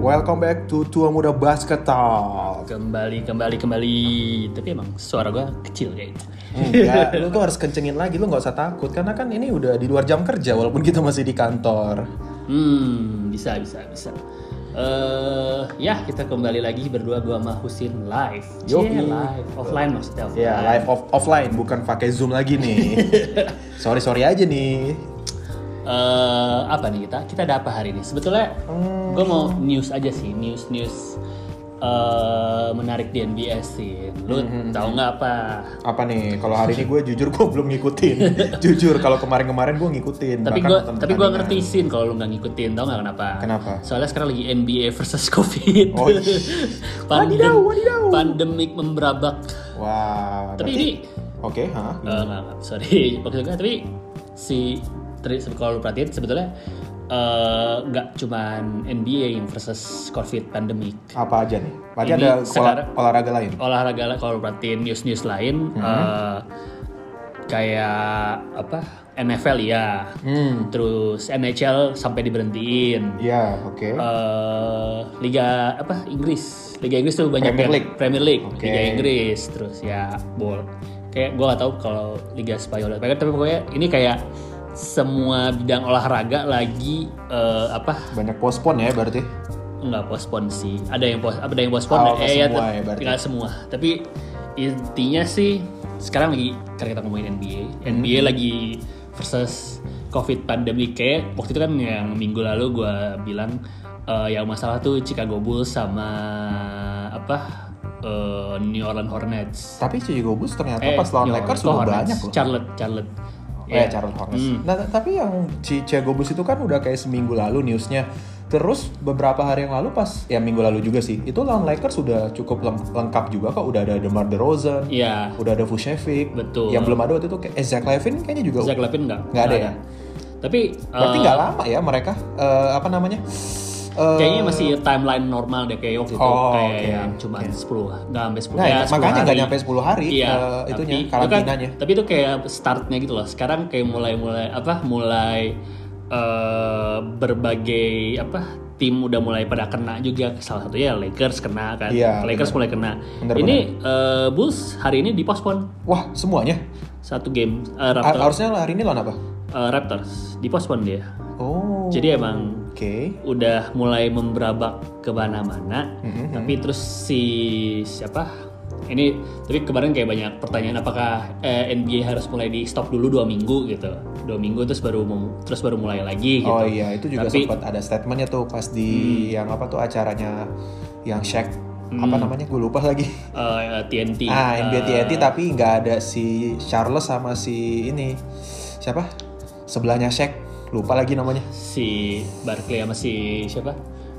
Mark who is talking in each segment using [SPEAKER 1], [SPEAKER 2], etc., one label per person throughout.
[SPEAKER 1] Welcome back to Tua Muda Basket Talk.
[SPEAKER 2] Kembali, kembali, kembali. Tapi emang suara gua kecil kayak gitu.
[SPEAKER 1] Enggak, Iya, lu tuh harus kencengin lagi, lu nggak usah takut karena kan ini udah di luar jam kerja walaupun kita masih di kantor.
[SPEAKER 2] Hmm, bisa, bisa, bisa. Eh, ya kita kembali lagi berdua gua sama Husin live.
[SPEAKER 1] Yoi.
[SPEAKER 2] Cie, live, offline maksudnya. Offline.
[SPEAKER 1] Ya, live off- offline bukan pakai Zoom lagi nih. sorry sorry aja nih.
[SPEAKER 2] Eh, apa nih kita? Kita ada apa hari ini? Sebetulnya gua mau news aja sih, news news eh menarik di NBS sih. Lu tahu nggak apa?
[SPEAKER 1] Apa nih? Kalau hari ini gue jujur gue belum ngikutin. jujur kalau kemarin-kemarin gue ngikutin.
[SPEAKER 2] Tapi
[SPEAKER 1] bahkan
[SPEAKER 2] gua
[SPEAKER 1] nonton
[SPEAKER 2] tapi gua
[SPEAKER 1] pertandingan.
[SPEAKER 2] ngerti Sin kalau lu nggak ngikutin, tau nggak kenapa?
[SPEAKER 1] Kenapa?
[SPEAKER 2] Soalnya sekarang lagi NBA versus COVID.
[SPEAKER 1] Oh, iya.
[SPEAKER 2] Pandem-
[SPEAKER 1] Wadidaw, wadidaw.
[SPEAKER 2] Pandemik memberabak.
[SPEAKER 1] Wah.
[SPEAKER 2] Tapi
[SPEAKER 1] berarti-
[SPEAKER 2] ini,
[SPEAKER 1] Oke, hah?
[SPEAKER 2] eh, nggak, nggak, sorry, maksud gua, tapi si tri- kalau lu perhatiin sebetulnya eh, nggak cuman NBA versus COVID pandemik.
[SPEAKER 1] Apa aja nih? Berarti
[SPEAKER 2] Ini
[SPEAKER 1] ada olah-
[SPEAKER 2] sekarang-
[SPEAKER 1] olahraga lain.
[SPEAKER 2] olahraga lah kalau perhatiin news-news lain
[SPEAKER 1] Hmm.
[SPEAKER 2] eh, kayak apa NFL ya
[SPEAKER 1] Hmm.
[SPEAKER 2] terus NHL sampai diberhentiin
[SPEAKER 1] Ya, oke.
[SPEAKER 2] Eh, Liga apa Inggris Liga Inggris tuh banyak
[SPEAKER 1] Premier
[SPEAKER 2] yang-
[SPEAKER 1] League.
[SPEAKER 2] Premier League
[SPEAKER 1] Oke.
[SPEAKER 2] Liga Inggris terus ya bol kayak gua gak tahu kalau Liga Spanyol apa, tapi pokoknya ini kayak semua bidang olahraga lagi eh, apa
[SPEAKER 1] Banyak pospon ya berarti.
[SPEAKER 2] nggak postpone sih ada yang pos ada yang postpone
[SPEAKER 1] Oh, nggak semua
[SPEAKER 2] tapi-
[SPEAKER 1] ya berarti.
[SPEAKER 2] nggak semua tapi intinya sih sekarang lagi karena kita ngomongin NBA
[SPEAKER 1] Hmm.
[SPEAKER 2] NBA lagi versus covid pandemi kayak waktu itu kan yang minggu lalu gue bilang eh, yang masalah tuh Chicago Bulls sama apa eh, New Orleans Hornets
[SPEAKER 1] Tapi Chicago Bulls ternyata
[SPEAKER 2] Eh,
[SPEAKER 1] pas lawan
[SPEAKER 2] New
[SPEAKER 1] Lakers
[SPEAKER 2] Orleans,
[SPEAKER 1] sudah
[SPEAKER 2] Hornets. Hmm.
[SPEAKER 1] banyak loh.
[SPEAKER 2] Charlotte Charlotte
[SPEAKER 1] Oh ya,
[SPEAKER 2] Iya.
[SPEAKER 1] Charles Hornets. Nah, t- tapi yang Ci- Chicago Bulls itu kan udah kayak seminggu lalu newsnya. Terus beberapa hari yang lalu pas ya minggu lalu juga sih, itu lawan Lakers sudah cukup leng- lengkap juga kok. Udah ada DeMar DeRozan,
[SPEAKER 2] Iya.
[SPEAKER 1] udah ada Vucevic.
[SPEAKER 2] Betul.
[SPEAKER 1] Yang belum ada waktu itu kayak eh, Zach Levine kayaknya juga.
[SPEAKER 2] Zach Lavin nggak
[SPEAKER 1] Nggak ada ya?
[SPEAKER 2] tapi
[SPEAKER 1] Berarti
[SPEAKER 2] eh,
[SPEAKER 1] nggak lama ya mereka eh, apa namanya? Eh,
[SPEAKER 2] Kayaknya masih timeline normal deh kayak waktu itu
[SPEAKER 1] Oh,
[SPEAKER 2] kayak
[SPEAKER 1] oke,
[SPEAKER 2] yang cuma 10 nggak sampai 10
[SPEAKER 1] Nah,
[SPEAKER 2] ya,
[SPEAKER 1] itu- makanya nggak
[SPEAKER 2] 10
[SPEAKER 1] nyampe 10 hari,
[SPEAKER 2] Iya,
[SPEAKER 1] eh, itunya,
[SPEAKER 2] tapi itu kan-
[SPEAKER 1] karantinanya.
[SPEAKER 2] tapi itu kayak startnya gitu loh. Sekarang kayak mulai-mulai apa? Mulai eh, berbagai apa? tim udah mulai pada kena juga salah satunya Lakers kena kan.
[SPEAKER 1] Iya,
[SPEAKER 2] Lakers mulai kena.
[SPEAKER 1] Bener,
[SPEAKER 2] ini eh, Bulls hari ini dipospon
[SPEAKER 1] Wah semuanya.
[SPEAKER 2] satu game eh,
[SPEAKER 1] Ha-
[SPEAKER 2] Raptor-
[SPEAKER 1] Harusnya hari ini lawan apa?
[SPEAKER 2] eh, Raptors dipospon dia.
[SPEAKER 1] Oh.
[SPEAKER 2] Jadi ya- emang
[SPEAKER 1] Oke.
[SPEAKER 2] udah mulai memberabak ke mana-mana.
[SPEAKER 1] Mhm.
[SPEAKER 2] Tapi terus si siapa? Ini tapi kemarin kayak banyak pertanyaan apakah eh, NBA harus mulai di stop dulu dua minggu gitu, dua minggu terus baru mem- terus baru mulai lagi gitu.
[SPEAKER 1] Oh iya, itu juga
[SPEAKER 2] Tapi- Hmm.
[SPEAKER 1] sempat ada statementnya tuh pas di yang apa tuh acaranya yang Shaq apa namanya gue lupa lagi.
[SPEAKER 2] Eh, TNT.
[SPEAKER 1] Ah,
[SPEAKER 2] Hmm.
[SPEAKER 1] NBA
[SPEAKER 2] eh,
[SPEAKER 1] TNT tapi nggak ada si Charles sama si ini siapa sebelahnya Shaq lupa lagi namanya.
[SPEAKER 2] si Barkley sama si siapa?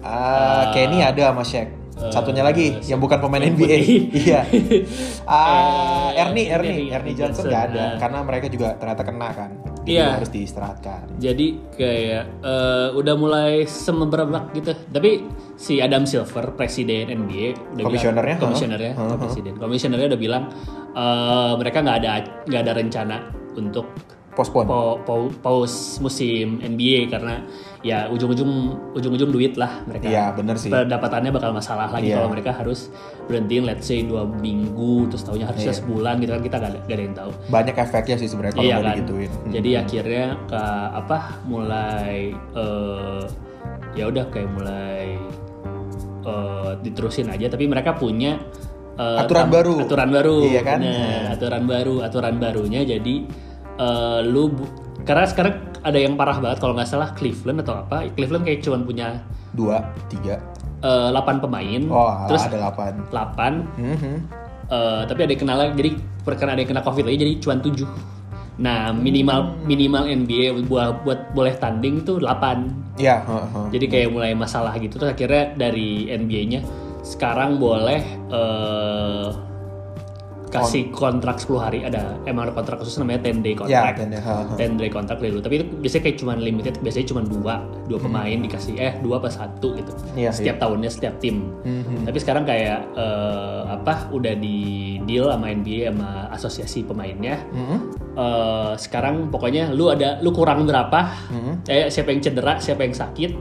[SPEAKER 1] Ah, Kenny ada sama Shaq. Satunya lagi yang bukan pemain
[SPEAKER 2] Eh, yang
[SPEAKER 1] NBA.
[SPEAKER 2] putih.
[SPEAKER 1] iya. Ah,
[SPEAKER 2] Eh,
[SPEAKER 1] Ernie, Ernie,
[SPEAKER 2] Ernie
[SPEAKER 1] Ernie Johnson
[SPEAKER 2] Johnson,
[SPEAKER 1] nggak ada
[SPEAKER 2] ah.
[SPEAKER 1] karena mereka juga ternyata kena kan. Jadi
[SPEAKER 2] Iya.
[SPEAKER 1] harus diistirahatkan.
[SPEAKER 2] Jadi kayak eh, udah mulai semeberabak gitu. Tapi si Adam Silver, presiden NBA, udah
[SPEAKER 1] Komisionernya,
[SPEAKER 2] bilang, komisionernya,
[SPEAKER 1] huh?
[SPEAKER 2] atau
[SPEAKER 1] Huh?
[SPEAKER 2] presiden, komisionernya udah bilang eh, mereka nggak ada nggak ada rencana untuk
[SPEAKER 1] Postpone.
[SPEAKER 2] pau- pau- pause musim NBA karena ya ujung-ujung ujung-ujung duit lah mereka.
[SPEAKER 1] Iya, bener sih.
[SPEAKER 2] Pendapatannya bakal masalah lagi
[SPEAKER 1] Iya.
[SPEAKER 2] kalau mereka harus berhentiin let's say dua minggu terus tahunya harusnya
[SPEAKER 1] Iya.
[SPEAKER 2] sebulan gitu kan kita nggak ada- nggak ada yang tahu
[SPEAKER 1] Banyak efeknya sih sebenarnya kalau
[SPEAKER 2] iya
[SPEAKER 1] nggak
[SPEAKER 2] kan.
[SPEAKER 1] digituin. Hmm.
[SPEAKER 2] Jadi akhirnya ke apa mulai eh, ya udah kayak mulai eh, diterusin aja tapi mereka punya eh,
[SPEAKER 1] Aturan
[SPEAKER 2] tam-
[SPEAKER 1] baru.
[SPEAKER 2] Aturan baru.
[SPEAKER 1] Iya kan?
[SPEAKER 2] Bener, aturan baru, aturan barunya jadi eh, lu bu- karena sekarang ada yang parah banget kalau nggak salah Cleveland atau apa. Cleveland kayak cuman punya
[SPEAKER 1] dua tiga
[SPEAKER 2] eh, 8 pemain.
[SPEAKER 1] oh
[SPEAKER 2] terus
[SPEAKER 1] ada delapan
[SPEAKER 2] 8
[SPEAKER 1] Mhm.
[SPEAKER 2] Eh, tapi ada yang kena lagi, jadi perkara ada yang kena covid lagi jadi cuan 7 nah
[SPEAKER 1] Hmm.
[SPEAKER 2] minimal minimal NBA buat, buat boleh tanding tuh 8
[SPEAKER 1] ya heeh, heeh.
[SPEAKER 2] jadi kayak mulai masalah gitu terus akhirnya dari NBA nya sekarang boleh eh, kasih kontrak 10 hari ada emang ada kontrak khusus namanya 10 day
[SPEAKER 1] ya
[SPEAKER 2] contract
[SPEAKER 1] dan- heeh, heeh.
[SPEAKER 2] 10 day kontrak dulu tapi itu biasanya kayak cuman limited biasanya cuman dua dua pemain dikasih eh dua apa satu gitu
[SPEAKER 1] Hmm. Iya,
[SPEAKER 2] setiap tahunnya setiap tim
[SPEAKER 1] Mhm.
[SPEAKER 2] tapi sekarang kayak eh, apa udah di deal sama NBA sama asosiasi pemainnya
[SPEAKER 1] Mhm,
[SPEAKER 2] Eh, sekarang pokoknya lu ada lu kurang berapa
[SPEAKER 1] mhm.
[SPEAKER 2] eh siapa yang cedera siapa yang sakit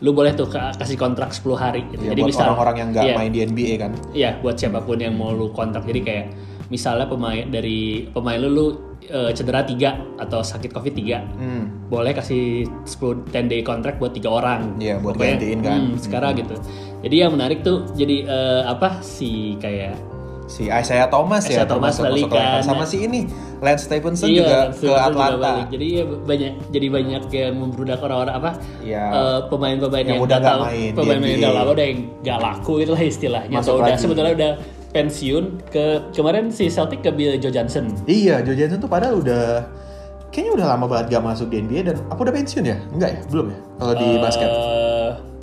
[SPEAKER 2] lu boleh tuh ka- kasih kontrak 10 hari gitu.
[SPEAKER 1] Ya, buat
[SPEAKER 2] misal-
[SPEAKER 1] orang-orang yang nggak
[SPEAKER 2] Iya.
[SPEAKER 1] main di NBA kan.
[SPEAKER 2] Iya, buat siapapun yang mau lu kontrak. Jadi kayak misalnya pemain dari pemain lu lu eh, cedera 3 atau sakit Covid 3
[SPEAKER 1] Hmm.
[SPEAKER 2] boleh kasih 10 10 day kontrak buat tiga orang.
[SPEAKER 1] Iya, buat
[SPEAKER 2] Pokoknya,
[SPEAKER 1] gantiin kan.
[SPEAKER 2] hmm, sekarang gitu. Jadi yang menarik tuh jadi eh, apa si kayak
[SPEAKER 1] Si Isaiah Thomas ya.
[SPEAKER 2] Isaiah Thomas
[SPEAKER 1] termasuk masuk
[SPEAKER 2] balik kan.
[SPEAKER 1] Lakers. Sama si ini Lance Stephenson
[SPEAKER 2] Iya,
[SPEAKER 1] juga
[SPEAKER 2] Lance
[SPEAKER 1] ke
[SPEAKER 2] Wilson juga
[SPEAKER 1] Atlanta.
[SPEAKER 2] balik. Jadi ya, banyak jadi banyak yang memberudak orang-orang apa
[SPEAKER 1] Iya.
[SPEAKER 2] eh, pemain-pemain
[SPEAKER 1] Yang
[SPEAKER 2] yang,
[SPEAKER 1] udah
[SPEAKER 2] nggak
[SPEAKER 1] nggak
[SPEAKER 2] tahu-
[SPEAKER 1] main di
[SPEAKER 2] pemain-pemain yang
[SPEAKER 1] NBA.
[SPEAKER 2] udah lama udah yang gak laku itulah istilahnya.
[SPEAKER 1] Masuk
[SPEAKER 2] Atau udah
[SPEAKER 1] lagi.
[SPEAKER 2] sebetulnya udah pensiun ke kemarin si Celtic ke Bill Joe Johnson.
[SPEAKER 1] Iya, Joe Johnson tuh padahal udah kayaknya udah lama banget gak masuk di NBA dan apa udah pensiun ya? Enggak ya? Belum ya? Kalau di
[SPEAKER 2] Eh,
[SPEAKER 1] basket.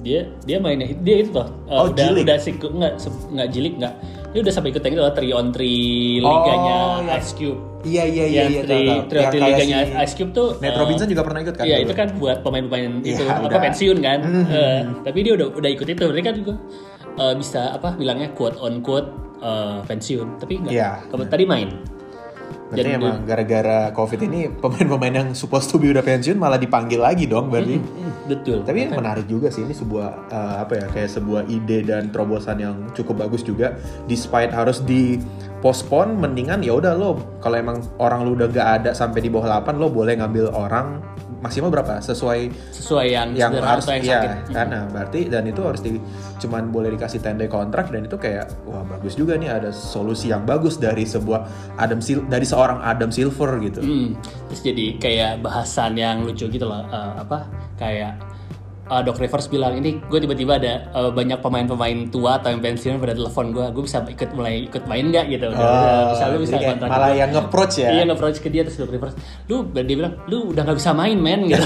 [SPEAKER 2] dia dia mainnya dia itu toh Eh,
[SPEAKER 1] Oh,
[SPEAKER 2] udah
[SPEAKER 1] G League.
[SPEAKER 2] udah sih nggak se- nggak jilik nggak dia udah sampai ikut yang itu loh 3 on 3 liganya
[SPEAKER 1] Oh, iya.
[SPEAKER 2] Ice Cube
[SPEAKER 1] Iya iya iya
[SPEAKER 2] yang
[SPEAKER 1] iya. tahu,
[SPEAKER 2] 3
[SPEAKER 1] tahu.
[SPEAKER 2] 3 on 3
[SPEAKER 1] kayak
[SPEAKER 2] liganya
[SPEAKER 1] si
[SPEAKER 2] Ice Cube tuh
[SPEAKER 1] Nate
[SPEAKER 2] eh,
[SPEAKER 1] Robinson juga pernah ikut kan?
[SPEAKER 2] Iya
[SPEAKER 1] dulu?
[SPEAKER 2] itu kan buat pemain-pemain
[SPEAKER 1] Iya,
[SPEAKER 2] itu apa
[SPEAKER 1] udah.
[SPEAKER 2] pensiun kan.
[SPEAKER 1] Mhm.
[SPEAKER 2] Eh, tapi dia udah udah ikut itu. Mereka juga eh, bisa apa bilangnya quote on quote eh, pensiun. Tapi enggak.
[SPEAKER 1] Iya.
[SPEAKER 2] Kamu tadi main.
[SPEAKER 1] Berarti
[SPEAKER 2] Jadi-
[SPEAKER 1] emang gara-gara COVID ini pemain-pemain yang supposed to be udah pensiun malah dipanggil lagi dong berarti.
[SPEAKER 2] Betul.
[SPEAKER 1] Tapi yang menarik juga sih ini sebuah eh, apa ya kayak sebuah ide dan terobosan yang cukup bagus juga. Despite harus di postpone, mendingan ya udah lo kalau emang orang lu udah gak ada sampai di bawah 8 lo boleh ngambil orang maksimal berapa sesuai
[SPEAKER 2] sesuai yang,
[SPEAKER 1] yang
[SPEAKER 2] cedera
[SPEAKER 1] harus
[SPEAKER 2] atau yang sakit.
[SPEAKER 1] ya karena berarti dan itu harus di cuman boleh dikasih tanda kontrak dan itu kayak wah bagus juga nih ada solusi yang bagus dari sebuah Adam Sil dari seorang Adam Silver gitu.
[SPEAKER 2] Hmm, terus jadi kayak bahasan yang lucu gitu loh eh, apa kayak eh, Doc Rivers bilang ini gue tiba-tiba ada eh, banyak pemain-pemain tua atau yang pensiun pada telepon gue gue bisa ikut mulai ikut main nggak gitu Udah, udah,
[SPEAKER 1] Oh,
[SPEAKER 2] bisa lu bisa
[SPEAKER 1] jadi kayak
[SPEAKER 2] kontrak
[SPEAKER 1] malah
[SPEAKER 2] gua.
[SPEAKER 1] yang nge-approach ya.
[SPEAKER 2] Iya nge-approach ke dia terus Doc Rivers lu dia bilang lu udah nggak bisa main men gitu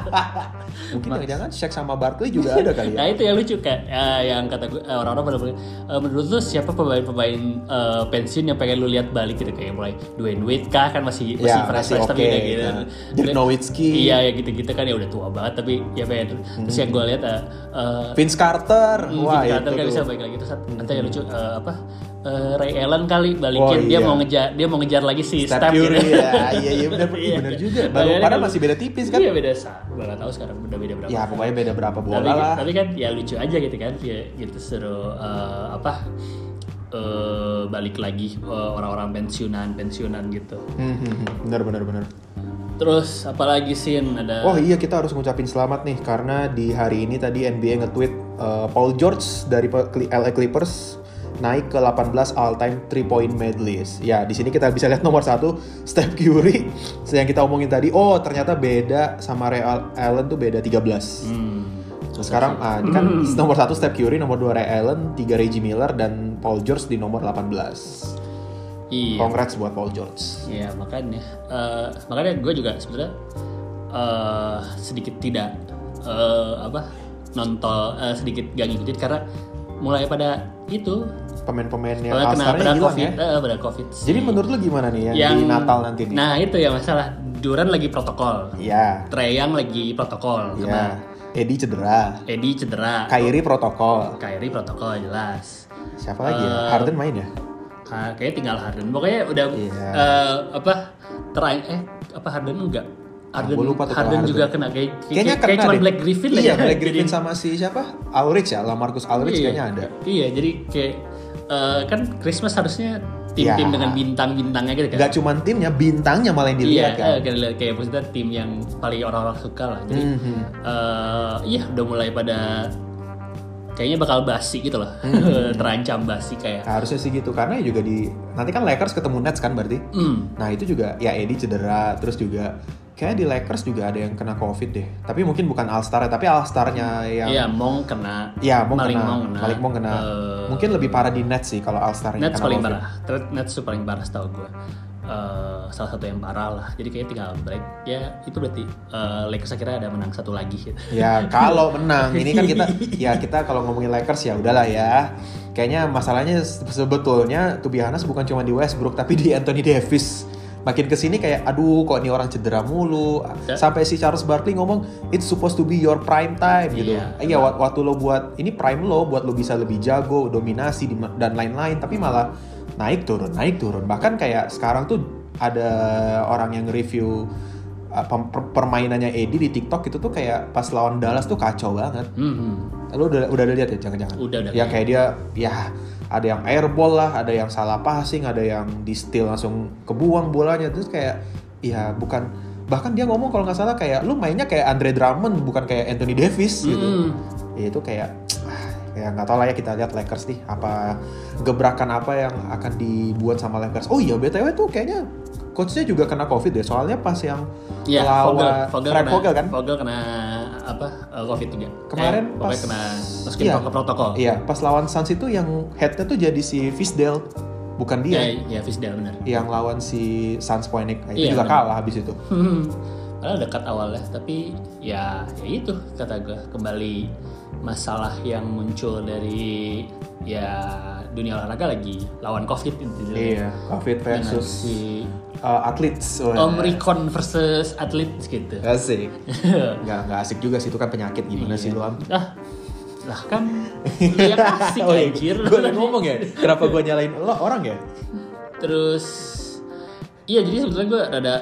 [SPEAKER 1] Mungkin jangan-jangan Shaq sama Barkley juga ada kali ya.
[SPEAKER 2] nah itu yang lucu kayak eh, yang kata gue eh, orang-orang pada bilang, "Eh, menurut lu siapa pemain-pemain eh, pensiun yang pengen lu lihat balik gitu kayak mulai Dwayne Wade kah kan masih masih
[SPEAKER 1] Ya,
[SPEAKER 2] fresh
[SPEAKER 1] masih
[SPEAKER 2] fresh tapi
[SPEAKER 1] oke,
[SPEAKER 2] udah gitu
[SPEAKER 1] kan. Dirk Nowitzki. Hmm.
[SPEAKER 2] iya ya gitu-gitu kan ya udah tua banget tapi ya pengen terus yang gue lihat eh, eh,
[SPEAKER 1] Vince Carter,
[SPEAKER 2] Hmm,
[SPEAKER 1] wah
[SPEAKER 2] Jimmy Carter
[SPEAKER 1] itu
[SPEAKER 2] kan
[SPEAKER 1] tuh.
[SPEAKER 2] bisa balik lagi terus satu- atau yang lucu eh, apa eh, Ray Allen kali balikin
[SPEAKER 1] Oh,
[SPEAKER 2] dia
[SPEAKER 1] iya.
[SPEAKER 2] mau ngejar dia mau ngejar lagi si
[SPEAKER 1] Steph
[SPEAKER 2] Steph
[SPEAKER 1] Curry,
[SPEAKER 2] gitu.
[SPEAKER 1] ya, iya iya benar
[SPEAKER 2] Iya.
[SPEAKER 1] benar juga. Baru
[SPEAKER 2] Padahal
[SPEAKER 1] padahal
[SPEAKER 2] kan-
[SPEAKER 1] masih beda tipis kan.
[SPEAKER 2] Iya beda sa, gua nggak tahu sekarang udah beda berapa.
[SPEAKER 1] Ya pokoknya beda berapa bola
[SPEAKER 2] tapi,
[SPEAKER 1] lah.
[SPEAKER 2] tapi kan ya lucu aja gitu kan ya, gitu seru eh, apa eh, balik lagi eh, orang-orang pensiunan pensiunan gitu
[SPEAKER 1] Hmm, hmm, hmm. benar benar benar.
[SPEAKER 2] terus apalagi sin ada
[SPEAKER 1] Oh iya kita harus ngucapin selamat nih karena di hari ini tadi NBA nge-tweet uh, Paul George dari Pe- Cli- LA Clippers naik ke 18 all time 3 point made list. Ya, di sini kita bisa lihat nomor satu Steph Curry yang kita omongin tadi. Oh, ternyata beda sama Ray Al- Allen tuh beda 13.
[SPEAKER 2] Hmm,
[SPEAKER 1] Sekarang ah, ini kan nomor satu Steph Curry, nomor 2 Ray Allen, 3 Reggie Miller dan Paul George di nomor 18.
[SPEAKER 2] iya
[SPEAKER 1] Congrats buat Paul George.
[SPEAKER 2] Iya makanya, Eh, makanya gue juga sebenarnya eh, sedikit tidak eh, apa nontol eh, sedikit gak ngikutin karena mulai pada itu
[SPEAKER 1] Pemain-pemainnya
[SPEAKER 2] mulai kena
[SPEAKER 1] All-Star-nya
[SPEAKER 2] pada
[SPEAKER 1] Ya, hilang
[SPEAKER 2] covid,
[SPEAKER 1] ya.
[SPEAKER 2] eh, pada covid. sih.
[SPEAKER 1] Jadi menurut lu gimana nih yang, di Natal nanti nih?
[SPEAKER 2] Nah itu ya masalah Duran lagi protokol,
[SPEAKER 1] Iya,
[SPEAKER 2] Treyang lagi protokol,
[SPEAKER 1] iya.
[SPEAKER 2] sama
[SPEAKER 1] Edi cedera.
[SPEAKER 2] Edi cedera,
[SPEAKER 1] Kyrie protokol.
[SPEAKER 2] Kyrie protokol jelas.
[SPEAKER 1] Siapa lagi ya?
[SPEAKER 2] Eh,
[SPEAKER 1] Harden main ya?
[SPEAKER 2] Ka- kayaknya tinggal Harden pokoknya udah
[SPEAKER 1] Iya.
[SPEAKER 2] eh, apa terakhir eh apa Harden enggak Harden,
[SPEAKER 1] Ah, gua lupa tuh kalau
[SPEAKER 2] Harden
[SPEAKER 1] Harden.
[SPEAKER 2] juga kena kayak
[SPEAKER 1] Kayaknya
[SPEAKER 2] kayak, kayak
[SPEAKER 1] kena
[SPEAKER 2] cuma
[SPEAKER 1] deh.
[SPEAKER 2] Black Griffin lah
[SPEAKER 1] Iya,
[SPEAKER 2] ya.
[SPEAKER 1] Black
[SPEAKER 2] Jadi-
[SPEAKER 1] Griffin sama si siapa? Aurich ya, Lamarcus Aldridge
[SPEAKER 2] iya.
[SPEAKER 1] kayaknya ada.
[SPEAKER 2] iya jadi kayak eh, kan Christmas harusnya tim-tim
[SPEAKER 1] Iya.
[SPEAKER 2] dengan bintang-bintangnya gitu kan
[SPEAKER 1] Gak cuman timnya, bintangnya malah yang dilihat
[SPEAKER 2] iya, eh,
[SPEAKER 1] kan.
[SPEAKER 2] kayak, dilihat- kayak maksudnya tim yang paling orang-orang suka lah jadi
[SPEAKER 1] Mhm.
[SPEAKER 2] eh, iya udah mulai pada kayaknya bakal basi gitu loh
[SPEAKER 1] Hmm.
[SPEAKER 2] terancam basi kayak
[SPEAKER 1] Harusnya sih gitu karena juga di nanti kan Lakers ketemu Nets kan berarti.
[SPEAKER 2] hmm,
[SPEAKER 1] Nah itu juga ya Edi cedera terus juga kayak di Lakers juga ada yang kena covid deh. Tapi mungkin bukan All Star tapi All Star-nya yang
[SPEAKER 2] iya Mong kena
[SPEAKER 1] ya mau
[SPEAKER 2] Paling
[SPEAKER 1] Ya. kena,
[SPEAKER 2] mau kena.
[SPEAKER 1] paling mau kena.
[SPEAKER 2] Eh,
[SPEAKER 1] mungkin lebih parah di Nets sih kalau All Star-nya
[SPEAKER 2] Nets
[SPEAKER 1] kena
[SPEAKER 2] paling
[SPEAKER 1] covid.
[SPEAKER 2] parah. Threat- Nets tuh paling parah setahu gue. Eh, salah satu yang parah lah. Jadi kayaknya tinggal break. Ya itu berarti eh, Lakers akhirnya ada menang satu lagi. gitu.
[SPEAKER 1] Ya kalau menang, ini kan kita ya kita kalau ngomongin Lakers ya udahlah ya. Kayaknya masalahnya se- sebetulnya to be honest bukan cuma di Westbrook tapi di Anthony Davis. Makin kesini kayak aduh kok ini orang cedera mulu.
[SPEAKER 2] Ya.
[SPEAKER 1] Sampai si Charles Barkley ngomong it's supposed to be your prime time gitu.
[SPEAKER 2] Iya.
[SPEAKER 1] Iya wak- waktu lo buat ini prime lo buat lo bisa lebih jago, dominasi di- dan lain-lain tapi malah naik turun, naik turun. Bahkan kayak sekarang tuh ada orang yang review apa, per- ah, permainannya Eddie di TikTok itu tuh kayak pas lawan Dallas tuh kacau banget.
[SPEAKER 2] Hmm.
[SPEAKER 1] Lu udah udah ada lihat ya jangan-jangan?
[SPEAKER 2] Udah, udah.
[SPEAKER 1] Ya kayak dia ya ada yang airball lah, ada yang salah passing, ada yang di steal langsung kebuang bolanya terus kayak ya bukan bahkan dia ngomong kalau nggak salah kayak lu mainnya kayak Andre Drummond bukan kayak Anthony Davis gitu.
[SPEAKER 2] Hmm.
[SPEAKER 1] Ya itu kayak ah, ya nggak tahu lah ya kita lihat Lakers nih apa gebrakan apa yang akan dibuat sama Lakers. Oh iya btw tuh kayaknya coachnya juga kena covid deh soalnya pas yang
[SPEAKER 2] Ya,
[SPEAKER 1] lawan
[SPEAKER 2] Vogel, Vogel,
[SPEAKER 1] Frank
[SPEAKER 2] kena,
[SPEAKER 1] Vogel kan
[SPEAKER 2] Vogel kena apa? eh, Covid juga.
[SPEAKER 1] Kemarin
[SPEAKER 2] eh, pokoknya
[SPEAKER 1] pas-
[SPEAKER 2] kena masukin
[SPEAKER 1] iya.
[SPEAKER 2] protokol. protokol.
[SPEAKER 1] Iya, pas lawan Suns itu yang headnya tuh jadi si Fisdale, bukan
[SPEAKER 2] Ya,
[SPEAKER 1] dia.
[SPEAKER 2] ya Fisdale benar.
[SPEAKER 1] Yang lawan si Suns Phoenix, nah, itu
[SPEAKER 2] Iya,
[SPEAKER 1] juga
[SPEAKER 2] benar.
[SPEAKER 1] kalah habis itu.
[SPEAKER 2] Hmm. Padahal dekat awalnya, tapi ya, ya itu kata gue kembali masalah yang muncul dari ya dunia olahraga lagi lawan covid intinya.
[SPEAKER 1] Iya, Covid
[SPEAKER 2] Dengan
[SPEAKER 1] versus
[SPEAKER 2] si
[SPEAKER 1] uh, athletes. Wah,
[SPEAKER 2] Iya. Om Recon versus atlet gitu.
[SPEAKER 1] Asik. Nggak, nggak asik juga sih, itu kan penyakit gimana sih lu am?
[SPEAKER 2] ah, lah kan lu yang kan asik
[SPEAKER 1] Oh iya,
[SPEAKER 2] anjir.
[SPEAKER 1] Gue udah ngomong ya, kenapa gue nyalain lo orang ya?
[SPEAKER 2] Terus iya jadi sebetulnya gue rada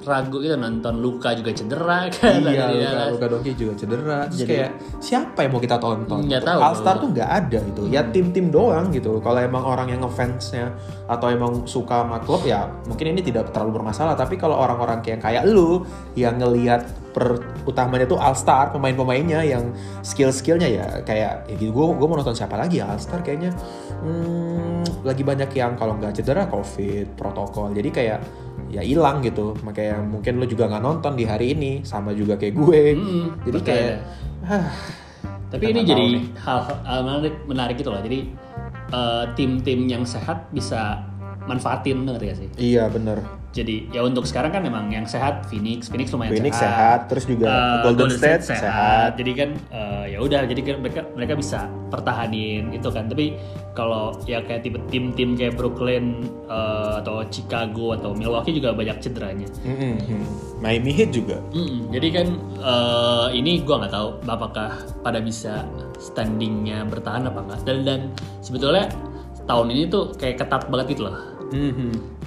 [SPEAKER 2] ragu gitu nonton Luka juga cedera kan.
[SPEAKER 1] iya,
[SPEAKER 2] dari
[SPEAKER 1] Luka,
[SPEAKER 2] Dallas.
[SPEAKER 1] Luka Doncic juga cedera. Terus
[SPEAKER 2] Jadi-
[SPEAKER 1] kayak siapa yang mau kita tonton?
[SPEAKER 2] Nggak tahu.
[SPEAKER 1] All Star tuh nggak ada gitu. Ya tim-tim doang gitu. Kalau emang orang yang ngefansnya atau emang suka sama klub ya mungkin ini tidak terlalu bermasalah. Tapi kalau orang-orang kayak kayak lu yang ngelihat per utamanya tuh All Star pemain-pemainnya yang skill-skillnya ya kayak ya gitu. Gue mau nonton siapa lagi ya All Star kayaknya. Hmm, lagi banyak yang kalau nggak cedera covid protokol. Jadi kayak ya hilang gitu makanya mungkin lu juga nggak nonton di hari ini sama juga kayak gue
[SPEAKER 2] Mm-mm,
[SPEAKER 1] jadi
[SPEAKER 2] makanya.
[SPEAKER 1] kayak "Hah,
[SPEAKER 2] ah. Tapi
[SPEAKER 1] Kita
[SPEAKER 2] ini
[SPEAKER 1] nggak
[SPEAKER 2] jadi
[SPEAKER 1] tahu
[SPEAKER 2] hal, hal menarik, menarik gitu loh. Jadi eh, tim-tim yang sehat bisa manfaatin denger ya sih.
[SPEAKER 1] iya bener
[SPEAKER 2] Jadi ya untuk sekarang kan memang yang sehat Phoenix, Phoenix lumayan
[SPEAKER 1] Phoenix sehat terus juga
[SPEAKER 2] Eh,
[SPEAKER 1] Golden, State, sehat,
[SPEAKER 2] Jadi kan eh, ya udah jadi kan mereka mereka bisa pertahanin itu kan. Tapi kalau ya kayak tipe tim-tim kayak Brooklyn eh, atau Chicago atau Milwaukee juga banyak cederanya.
[SPEAKER 1] Mm-mm, mm. Miami Heat juga
[SPEAKER 2] Mm-mm. Jadi kan eh, ini gua nggak tahu apakah pada bisa standingnya bertahan apa enggak. Dan dan sebetulnya tahun ini tuh kayak ketat banget gitu loh.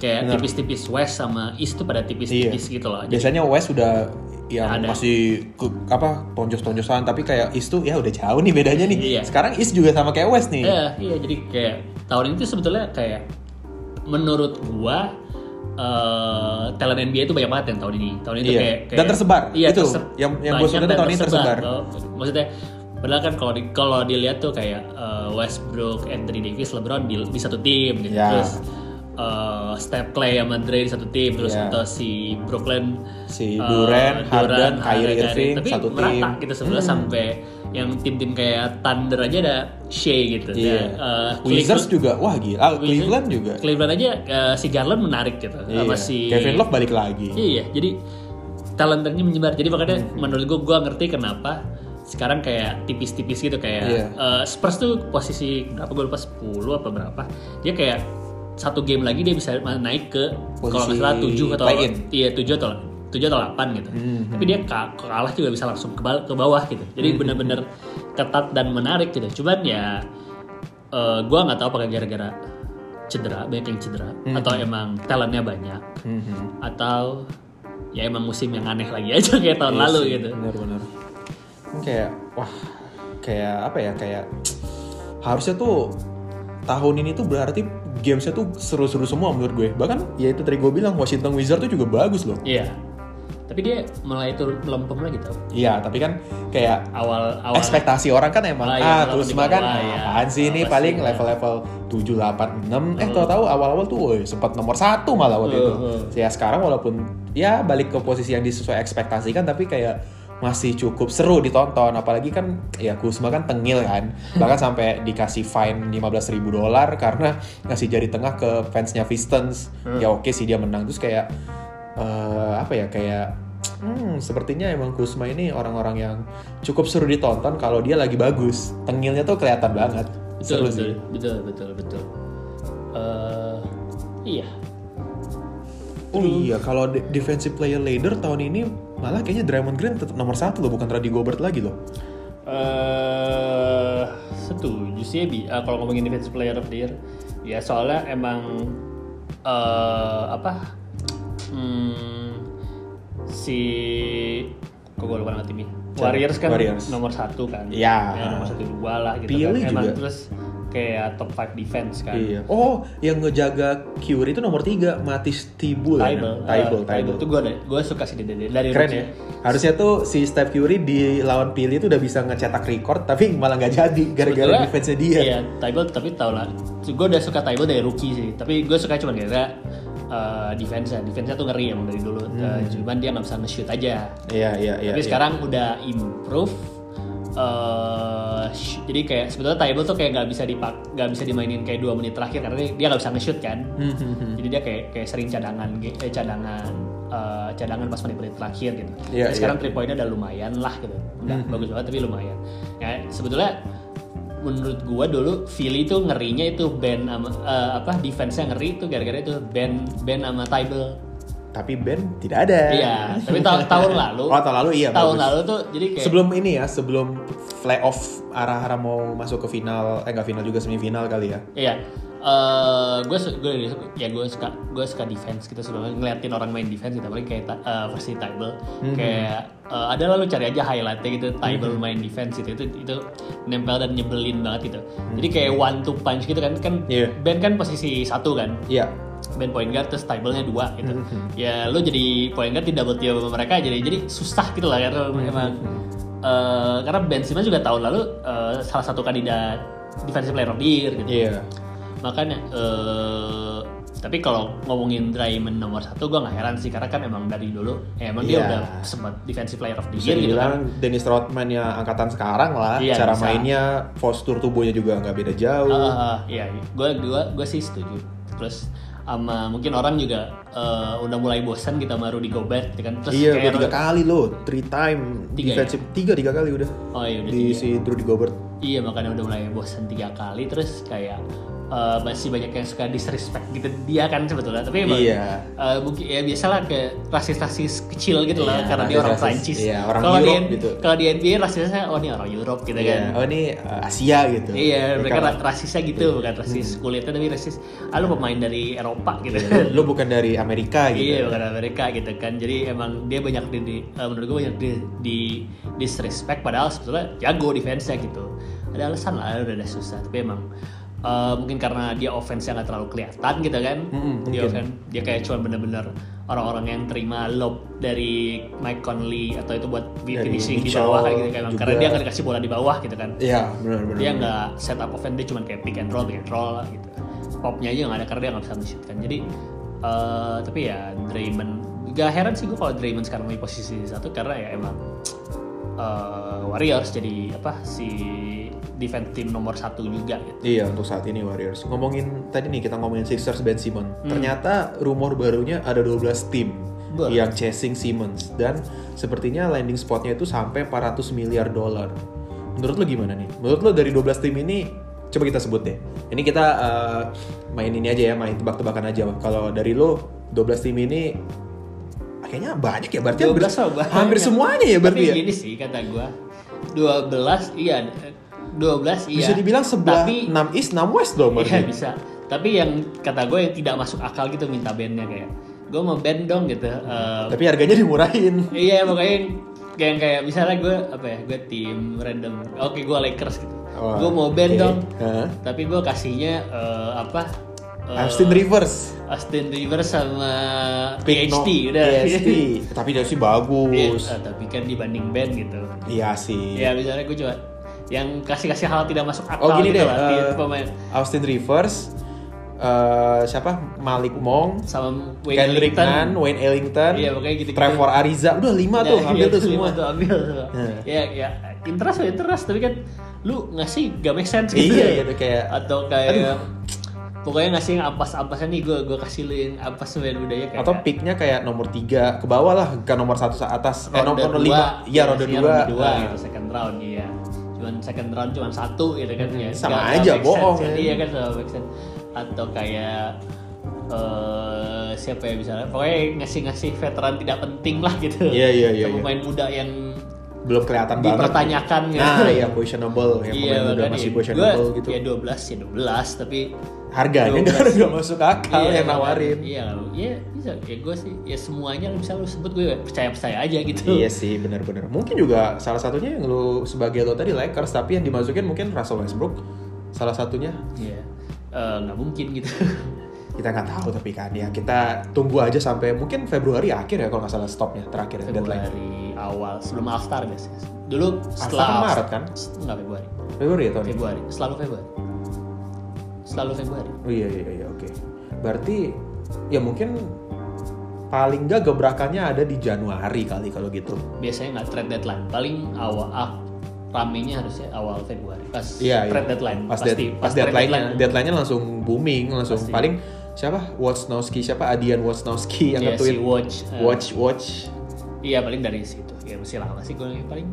[SPEAKER 2] Kayak
[SPEAKER 1] Benar.
[SPEAKER 2] tipis-tipis West sama East tuh pada tipis-tipis gitu loh. Jadi,
[SPEAKER 1] biasanya West udah yang
[SPEAKER 2] Ada.
[SPEAKER 1] masih ke, apa tonjos-tonjosan tapi kayak East tuh ya udah jauh nih bedanya nih
[SPEAKER 2] Iya.
[SPEAKER 1] sekarang East juga sama kayak West nih
[SPEAKER 2] Iya, iya jadi kayak tahun ini tuh sebetulnya kayak menurut gua eh talent NBA itu banyak banget yang tahun ini. Tahun ini tuh
[SPEAKER 1] Iya.
[SPEAKER 2] kayak, kayak-
[SPEAKER 1] Dan tersebar.
[SPEAKER 2] Iya,
[SPEAKER 1] Itu, yang- yang gua
[SPEAKER 2] banyak
[SPEAKER 1] suka tuh
[SPEAKER 2] dan
[SPEAKER 1] tahun ini tersebar.
[SPEAKER 2] Kalau- Maksudnya padahal kan kalau di, kalau dilihat tuh kayak eh, Westbrook, Anthony Davis, LeBron di, di satu tim gitu.
[SPEAKER 1] Iya.
[SPEAKER 2] Terus eh, Steph Clay sama Dre di satu tim terus
[SPEAKER 1] Iya.
[SPEAKER 2] atau si Brooklyn
[SPEAKER 1] Si
[SPEAKER 2] eh,
[SPEAKER 1] Durant, Harden, Kyrie Irving,
[SPEAKER 2] tapi
[SPEAKER 1] satu
[SPEAKER 2] merata
[SPEAKER 1] tim.
[SPEAKER 2] gitu sebenarnya
[SPEAKER 1] Hmm.
[SPEAKER 2] sampai yang tim-tim kayak Thunder aja ada Shea gitu
[SPEAKER 1] Iya.
[SPEAKER 2] Dan, eh,
[SPEAKER 1] Wizards
[SPEAKER 2] Cleveland-
[SPEAKER 1] juga wah gila
[SPEAKER 2] Wizards-
[SPEAKER 1] Cleveland juga
[SPEAKER 2] Cleveland aja eh, si Garland menarik gitu sama
[SPEAKER 1] Iya.
[SPEAKER 2] si
[SPEAKER 1] Kevin Love balik lagi
[SPEAKER 2] Iya, iya. jadi talentanya menyebar. Jadi
[SPEAKER 1] Iya.
[SPEAKER 2] makanya menurut gua gua ngerti kenapa sekarang kayak tipis-tipis gitu kayak
[SPEAKER 1] Iya.
[SPEAKER 2] eh, Spurs tuh posisi berapa gue lupa 10 apa berapa. Dia kayak satu game lagi dia bisa naik ke kalau nggak
[SPEAKER 1] Posisi
[SPEAKER 2] salah 7 atau
[SPEAKER 1] play-in.
[SPEAKER 2] iya 7 atau 7 atau 8 gitu.
[SPEAKER 1] Mhm.
[SPEAKER 2] Tapi dia ka- kalah juga bisa langsung ke, bal- ke bawah gitu. Jadi benar-benar ketat dan menarik gitu. Cuman ya eh, gua nggak tahu apakah gara-gara cedera banyak yang cedera atau emang talentnya banyak
[SPEAKER 1] Mhm.
[SPEAKER 2] atau ya emang musim yang aneh lagi aja kayak
[SPEAKER 1] Iya
[SPEAKER 2] tahun lalu
[SPEAKER 1] sih,
[SPEAKER 2] gitu.
[SPEAKER 1] Benar-benar. Ini Kayak wah, kayak apa ya? Kayak harusnya tuh tahun ini tuh berarti gamesnya tuh seru-seru semua menurut gue. Bahkan ya itu tadi gue bilang Washington Wizards tuh juga bagus loh.
[SPEAKER 2] Iya. Tapi dia mulai turun melempem lagi tau.
[SPEAKER 1] Iya, tapi kan kayak
[SPEAKER 2] Awal awal
[SPEAKER 1] ekspektasi orang kan emang ah,
[SPEAKER 2] Ah, iya, kalau
[SPEAKER 1] terus
[SPEAKER 2] di
[SPEAKER 1] makan
[SPEAKER 2] bawah,
[SPEAKER 1] ah,
[SPEAKER 2] ya.
[SPEAKER 1] apaan sih ini
[SPEAKER 2] Apa
[SPEAKER 1] paling
[SPEAKER 2] sih, Hmm. ya.
[SPEAKER 1] level-level 7 8 6 eh tahu-tahu awal-awal tuh woi, sempat nomor satu malah waktu
[SPEAKER 2] Hmm,
[SPEAKER 1] itu. Ya sekarang walaupun ya balik ke posisi yang disesuai ekspektasikan tapi kayak masih cukup seru ditonton apalagi kan ya Kusma kan tengil kan
[SPEAKER 2] Hmm.
[SPEAKER 1] bahkan sampai dikasih fine 15.000 ribu dolar karena ngasih jari tengah ke fansnya Pistons
[SPEAKER 2] Hmm.
[SPEAKER 1] ya oke sih dia menang terus kayak eh, apa ya kayak Hmm, sepertinya emang Kusma ini orang-orang yang cukup seru ditonton kalau dia lagi bagus. Tengilnya tuh kelihatan banget.
[SPEAKER 2] betul,
[SPEAKER 1] seru
[SPEAKER 2] betul,
[SPEAKER 1] sih.
[SPEAKER 2] betul betul betul Eh, iya.
[SPEAKER 1] Oh iya, kalau de- defensive player leader tahun ini malah kayaknya Draymond Green tetap nomor satu loh, bukan Rudy Gobert lagi loh.
[SPEAKER 2] eh setuju sih Bi. Eh, kalau ngomongin defensive player of the year ya soalnya emang eh apa hmm, si kok gue lupa nama timnya Warriors kan
[SPEAKER 1] Warriors.
[SPEAKER 2] nomor satu kan
[SPEAKER 1] Iya.
[SPEAKER 2] ya nomor satu dua lah gitu
[SPEAKER 1] Pili
[SPEAKER 2] kan emang
[SPEAKER 1] juga.
[SPEAKER 2] terus kayak top 5 defense kan
[SPEAKER 1] Iya. Oh, yang ngejaga Kyuri itu nomor 3, Matis Tibul. ya,
[SPEAKER 2] Table,
[SPEAKER 1] Nam? Table,
[SPEAKER 2] Eh,
[SPEAKER 1] Table.
[SPEAKER 2] Itu gue gue suka sih dari dari
[SPEAKER 1] Keren
[SPEAKER 2] rookie.
[SPEAKER 1] ya. Harusnya tuh si Steph Curry di lawan Pili itu udah bisa ngecetak record tapi malah nggak jadi
[SPEAKER 2] Sebetulnya,
[SPEAKER 1] gara-gara defense-nya dia.
[SPEAKER 2] Iya, Tybalt tapi tau lah. Gue udah suka Tybalt dari rookie sih, tapi gue suka cuma gara uh, defense-nya. Defense-nya tuh ngeri emang dari dulu. Uh, cuman dia nggak bisa nge-shoot aja.
[SPEAKER 1] Iya, iya, Hmm. iya.
[SPEAKER 2] tapi
[SPEAKER 1] iya.
[SPEAKER 2] sekarang udah improve. Uh, sh- jadi kayak sebetulnya Tybalt tuh kayak nggak bisa dipak nggak bisa dimainin kayak dua menit terakhir karena dia- dia nggak bisa nge-shoot kan.
[SPEAKER 1] Hmm,
[SPEAKER 2] Jadi dia kayak kayak sering cadangan ge- eh, cadangan uh, cadangan pas menit-menit terakhir gitu.
[SPEAKER 1] Iya, Hmm.
[SPEAKER 2] Tapi
[SPEAKER 1] iya.
[SPEAKER 2] sekarang three point-nya udah lumayan lah gitu. Nggak bagus banget tapi lumayan. Ya sebetulnya menurut gua dulu Philly itu ngerinya itu band sama eh, apa defense-nya ngeri itu gara-gara itu band band sama Tybal.
[SPEAKER 1] Tapi Ben tidak ada.
[SPEAKER 2] Iya, tapi ta- tahun lalu.
[SPEAKER 1] Eh. Oh, tahun lalu iya,
[SPEAKER 2] Tahun
[SPEAKER 1] bagus.
[SPEAKER 2] lalu tuh jadi kayak
[SPEAKER 1] Sebelum ini ya, sebelum playoff arah-arah mau masuk ke final, eh nggak final juga semifinal kali ya.
[SPEAKER 2] Iya. eh gue gue ya gue suka gue suka defense gitu sebenarnya ngeliatin orang main defense gitu apalagi kayak ta- eh, versi Tybal kayak eh, ada lalu cari aja highlightnya gitu Tybal main defense gitu itu itu nempel dan nyebelin banget gitu jadi kayak one two punch gitu kan kan
[SPEAKER 1] Iya.
[SPEAKER 2] Ben kan posisi satu kan
[SPEAKER 1] Iya.
[SPEAKER 2] Ben point guard terus Tybal-nya dua gitu ya lu jadi point guard di double team sama mereka jadi jadi susah gitu lah karena emang eh, karena Ben Simmons juga tahun lalu eh, salah satu kandidat defensive player of the year gitu
[SPEAKER 1] Iya.
[SPEAKER 2] makanya eh tapi kalau ngomongin Draymond nomor satu gue nggak heran sih karena kan emang dari dulu eh, emang
[SPEAKER 1] Iya.
[SPEAKER 2] dia udah sempat defensive player of the
[SPEAKER 1] Bisa
[SPEAKER 2] year gitu kan
[SPEAKER 1] dibilang Dennis Rodman ya angkatan sekarang lah,
[SPEAKER 2] Iya,
[SPEAKER 1] cara
[SPEAKER 2] bisa.
[SPEAKER 1] mainnya, postur tubuhnya juga nggak beda jauh.
[SPEAKER 2] Ah, ah, ah, iya gue gua gua sih setuju terus sama mungkin orang juga eh, udah mulai bosan kita sama Rudy Gobert gitu kan terus
[SPEAKER 1] iya,
[SPEAKER 2] kayak
[SPEAKER 1] udah tiga kali loh, three time
[SPEAKER 2] Tiga ya?
[SPEAKER 1] defensive tiga tiga kali udah
[SPEAKER 2] oh iya udah
[SPEAKER 1] di
[SPEAKER 2] tiga.
[SPEAKER 1] si Drew Gobert.
[SPEAKER 2] Iya makanya udah mulai bosan tiga kali terus kayak eh, masih banyak yang suka disrespect gitu dia kan sebetulnya tapi emang
[SPEAKER 1] Iya.
[SPEAKER 2] eh, mungkin ya biasalah ke rasis rasis kecil gitu lah
[SPEAKER 1] Iya,
[SPEAKER 2] karena dia orang
[SPEAKER 1] rasis-rasis.
[SPEAKER 2] Prancis.
[SPEAKER 1] Iya, orang
[SPEAKER 2] kalau di,
[SPEAKER 1] Europe gitu.
[SPEAKER 2] kalau di NBA rasisnya oh ini orang Europe gitu kan.
[SPEAKER 1] Oh ini uh, Asia gitu.
[SPEAKER 2] Iya mereka
[SPEAKER 1] Mereka- Iya. Hmm.
[SPEAKER 2] ra- rasisnya gitu bukan rasis kulitnya tapi rasis. Ah lu pemain dari Eropa gitu.
[SPEAKER 1] lo bukan dari Amerika gitu.
[SPEAKER 2] Iya bukan Amerika gitu kan jadi emang dia banyak di, di- eh, menurut gue banyak di, di- disrespect padahal sebetulnya jago defense nya gitu ada alasan lah udah ada susah tapi emang eh, mungkin karena dia offense nya nggak terlalu kelihatan gitu kan
[SPEAKER 1] Mm-mm,
[SPEAKER 2] dia
[SPEAKER 1] mungkin.
[SPEAKER 2] offense dia kayak cuma bener-bener orang-orang yang terima lob dari Mike Conley atau itu buat di-
[SPEAKER 1] Dari
[SPEAKER 2] finishing di
[SPEAKER 1] Mitchell
[SPEAKER 2] bawah kayak gitu kan emang. karena
[SPEAKER 1] juga.
[SPEAKER 2] dia nggak dikasih bola di bawah gitu kan
[SPEAKER 1] Iya, benar-benar.
[SPEAKER 2] dia nggak set up offense dia cuma kayak pick and roll pick and roll lah gitu popnya aja nggak ada karena dia nggak bisa nge-shoot kan jadi eh, tapi ya Draymond gak heran sih gue kalau Draymond sekarang di posisi satu karena ya emang eh, Warriors jadi apa si defense team nomor satu juga gitu
[SPEAKER 1] Iya untuk saat ini Warriors. Ngomongin tadi nih kita ngomongin Sixers Ben Simmons.
[SPEAKER 2] Hmm.
[SPEAKER 1] Ternyata rumor barunya ada 12 tim
[SPEAKER 2] Betul.
[SPEAKER 1] yang chasing Simmons dan sepertinya landing spotnya itu sampai 400 miliar dolar. Menurut lo gimana nih? Menurut lo dari 12 tim ini coba kita sebut deh. Ini kita eh, main ini aja ya, main tebak-tebakan aja. Kalau dari lo 12 tim ini kayaknya banyak ya berarti hampir,
[SPEAKER 2] 12 mah oh, banyak.
[SPEAKER 1] hampir semuanya ya berarti
[SPEAKER 2] tapi
[SPEAKER 1] ya.
[SPEAKER 2] gini sih kata gue 12 iya eh, 12 iya
[SPEAKER 1] Bisa dibilang sebelah 6
[SPEAKER 2] tapi
[SPEAKER 1] East 6 West dong
[SPEAKER 2] Iya
[SPEAKER 1] berarti.
[SPEAKER 2] bisa. Tapi yang kata gue yang tidak masuk akal gitu minta bandnya kayak gue mau band dong gitu. Eh,
[SPEAKER 1] Tapi harganya dimurahin.
[SPEAKER 2] iya makanya yang kayak yang kayak misalnya gue apa ya gue tim random. Oke gue Lakers gitu.
[SPEAKER 1] Oh,
[SPEAKER 2] gue mau band
[SPEAKER 1] oke.
[SPEAKER 2] dong.
[SPEAKER 1] Hah?
[SPEAKER 2] Tapi gue kasihnya eh, apa? eh,
[SPEAKER 1] Austin Rivers.
[SPEAKER 2] Austin Rivers sama
[SPEAKER 1] Pick
[SPEAKER 2] PhD
[SPEAKER 1] no-
[SPEAKER 2] udah.
[SPEAKER 1] PhD. Tapi dia sih
[SPEAKER 2] Iya,
[SPEAKER 1] bagus.
[SPEAKER 2] eh, tapi kan dibanding band gitu.
[SPEAKER 1] Iya sih.
[SPEAKER 2] Ya misalnya gue coba yang kasih-kasih hal tidak masuk akal
[SPEAKER 1] Oh gini deh.
[SPEAKER 2] gitu lah, di
[SPEAKER 1] eh,
[SPEAKER 2] pemain
[SPEAKER 1] Austin Rivers. eh, siapa? Malik Monk.
[SPEAKER 2] sama Wayne
[SPEAKER 1] Kendrick
[SPEAKER 2] Ellington.
[SPEAKER 1] Nunn. Wayne Ellington.
[SPEAKER 2] Iya, pokoknya gitu-gitu.
[SPEAKER 1] Trevor Ariza. Udah lima
[SPEAKER 2] Ya,
[SPEAKER 1] tuh.
[SPEAKER 2] iya,
[SPEAKER 1] Ambil tuh
[SPEAKER 2] terus
[SPEAKER 1] semua.
[SPEAKER 2] lima tuh, ambil semua.
[SPEAKER 1] Hmm.
[SPEAKER 2] Ya, ya, interest ya interest, tapi kan lu ngasih gak make sense gitu.
[SPEAKER 1] Iya, gitu, kayak-
[SPEAKER 2] atau kayak pokoknya ngasih yang ampas-ampasnya nih gue gue kasih lu yang ampas semen budaya kayak
[SPEAKER 1] Atau picknya kayak nomor tiga ke bawah lah. Ke nomor satu ke atas. Eh,
[SPEAKER 2] ronde
[SPEAKER 1] nomor
[SPEAKER 2] dua,
[SPEAKER 1] lima. Iya, ronde
[SPEAKER 2] ngasihnya
[SPEAKER 1] dua.
[SPEAKER 2] ronde dua
[SPEAKER 1] Nah.
[SPEAKER 2] gitu, second round iya. Cuman second round cuman satu gitu kan ya.
[SPEAKER 1] Hmm, sama
[SPEAKER 2] Nggak- nggak
[SPEAKER 1] aja,
[SPEAKER 2] make sense,
[SPEAKER 1] bohong,
[SPEAKER 2] Jadi
[SPEAKER 1] kan.
[SPEAKER 2] ya kan sama make sense. Atau kayak eh, siapa ya misalnya pokoknya ngasih-ngasih veteran tidak penting lah gitu
[SPEAKER 1] Iya, iya, iya,
[SPEAKER 2] Atau
[SPEAKER 1] iya.
[SPEAKER 2] pemain muda yang
[SPEAKER 1] belum kelihatan banget.
[SPEAKER 2] Dipertanyakan gitu.
[SPEAKER 1] Nah, ya questionable yang
[SPEAKER 2] Iya,
[SPEAKER 1] pemain muda
[SPEAKER 2] makanya.
[SPEAKER 1] masih
[SPEAKER 2] Gua,
[SPEAKER 1] questionable gitu.
[SPEAKER 2] Ya 12 ya 12 tapi
[SPEAKER 1] Harganya
[SPEAKER 2] 12.
[SPEAKER 1] udah nggak masuk akal yang nawarin.
[SPEAKER 2] Iya, kalau- iya bisa. Ya gue sih ya semuanya lu bisa lu sebut gue percaya-percaya aja gitu.
[SPEAKER 1] Iya sih, benar-benar. Mungkin juga salah satunya yang lu sebagai lo tadi Lakers, tapi yang dimasukin mungkin Russell Westbrook. Salah satunya
[SPEAKER 2] Iya. Eh, nggak mungkin gitu.
[SPEAKER 1] kita nggak tahu tapi kan ya kita tunggu aja sampai mungkin Februari akhir ya kalau nggak salah stopnya terakhir ya, deadline.
[SPEAKER 2] Februari awal sebelum All Star biasanya. Dulu setelah
[SPEAKER 1] All-Star Maret kan?
[SPEAKER 2] Enggak Februari.
[SPEAKER 1] Februari ya tahun ini?
[SPEAKER 2] Februari, selalu Februari. Selalu Februari.
[SPEAKER 1] Oh iya iya iya oke. Berarti ya mungkin paling nggak gebrakannya ada di Januari kali kalau gitu.
[SPEAKER 2] Biasanya nggak trade deadline. Paling awal ah, ramenya harusnya awal Februari. Pas
[SPEAKER 1] Iya
[SPEAKER 2] trade deadline.
[SPEAKER 1] Pas,
[SPEAKER 2] pasti
[SPEAKER 1] dead-
[SPEAKER 2] pas,
[SPEAKER 1] pas
[SPEAKER 2] trade
[SPEAKER 1] deadline deadline. nya langsung booming langsung
[SPEAKER 2] Pasti.
[SPEAKER 1] paling siapa Wojnowski siapa Adian Wojnowski yang
[SPEAKER 2] Iya, si
[SPEAKER 1] nge-tweet
[SPEAKER 2] Watch. eh,
[SPEAKER 1] watch watch
[SPEAKER 2] Iya paling dari situ. Ya masih lama sih gue paling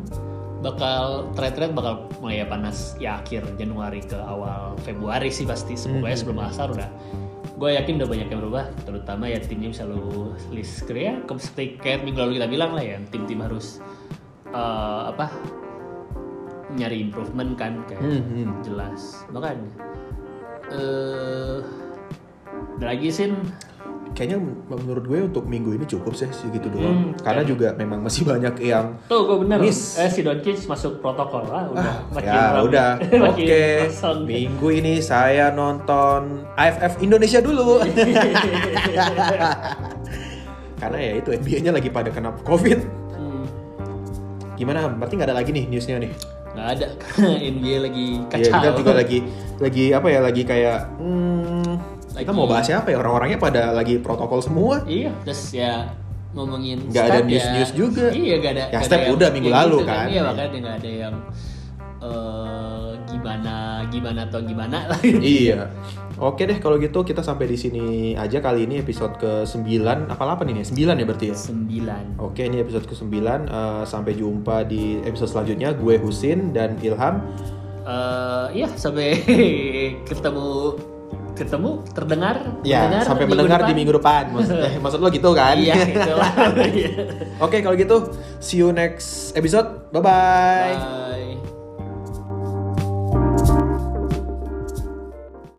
[SPEAKER 2] bakal trade-trade bakal mulai ya panas ya akhir Januari ke awal Februari sih pasti
[SPEAKER 1] Hmm.
[SPEAKER 2] semoga ya sebelum asar udah gue yakin udah banyak yang berubah terutama ya timnya bisa lu list Korea ke seperti kayak minggu lalu kita bilang lah ya tim-tim harus eh, apa nyari improvement kan kayak
[SPEAKER 1] Hmm, hmm.
[SPEAKER 2] jelas makanya eh ada lagi sih
[SPEAKER 1] kayaknya menurut gue untuk minggu ini cukup sih segitu
[SPEAKER 2] Hmm,
[SPEAKER 1] doang karena juga memang masih banyak yang
[SPEAKER 2] Tuh gue bener
[SPEAKER 1] Miss.
[SPEAKER 2] Eh si Doncic masuk protokol lah udah
[SPEAKER 1] ah,
[SPEAKER 2] makin
[SPEAKER 1] ya
[SPEAKER 2] rame.
[SPEAKER 1] udah oke
[SPEAKER 2] Makin kosong.
[SPEAKER 1] minggu ini saya nonton AFF Indonesia dulu karena ya itu NBA-nya lagi pada kena covid
[SPEAKER 2] Hmm,
[SPEAKER 1] gimana berarti nggak ada lagi nih newsnya nih
[SPEAKER 2] nggak ada karena NBA lagi
[SPEAKER 1] Iya,
[SPEAKER 2] kacau.
[SPEAKER 1] kita juga lagi lagi apa ya lagi kayak hmm, kita
[SPEAKER 2] Lagi-
[SPEAKER 1] mau bahas apa ya orang-orangnya pada lagi protokol semua
[SPEAKER 2] Iya terus ya ngomongin
[SPEAKER 1] Nggak ada
[SPEAKER 2] stat ya-
[SPEAKER 1] news-news juga.
[SPEAKER 2] Iya nggak ada.
[SPEAKER 1] Yang
[SPEAKER 2] nggak
[SPEAKER 1] step
[SPEAKER 2] ada
[SPEAKER 1] udah minggu
[SPEAKER 2] yang
[SPEAKER 1] lalu
[SPEAKER 2] gitu
[SPEAKER 1] kan.
[SPEAKER 2] Iya makanya nggak ada yang eh, gimana gimana atau gimana lah.
[SPEAKER 1] iya. Oke deh kalau gitu kita sampai di sini aja kali ini episode ke-9 apa 8 ini? 9 ya berarti ya.
[SPEAKER 2] Sembilan.
[SPEAKER 1] Oke, ini episode ke-9. Eh, sampai jumpa di episode selanjutnya. Gue Husin dan Ilham.
[SPEAKER 2] Eh, iya sampai ketemu ketemu terdengar
[SPEAKER 1] Ya,
[SPEAKER 2] mendengar
[SPEAKER 1] sampai mendengar di minggu depan. Maksud, eh, maksud lo gitu kan?
[SPEAKER 2] Iya itulah. Iya.
[SPEAKER 1] Oke, kalau gitu see you next episode. Bye-bye.
[SPEAKER 2] Bye.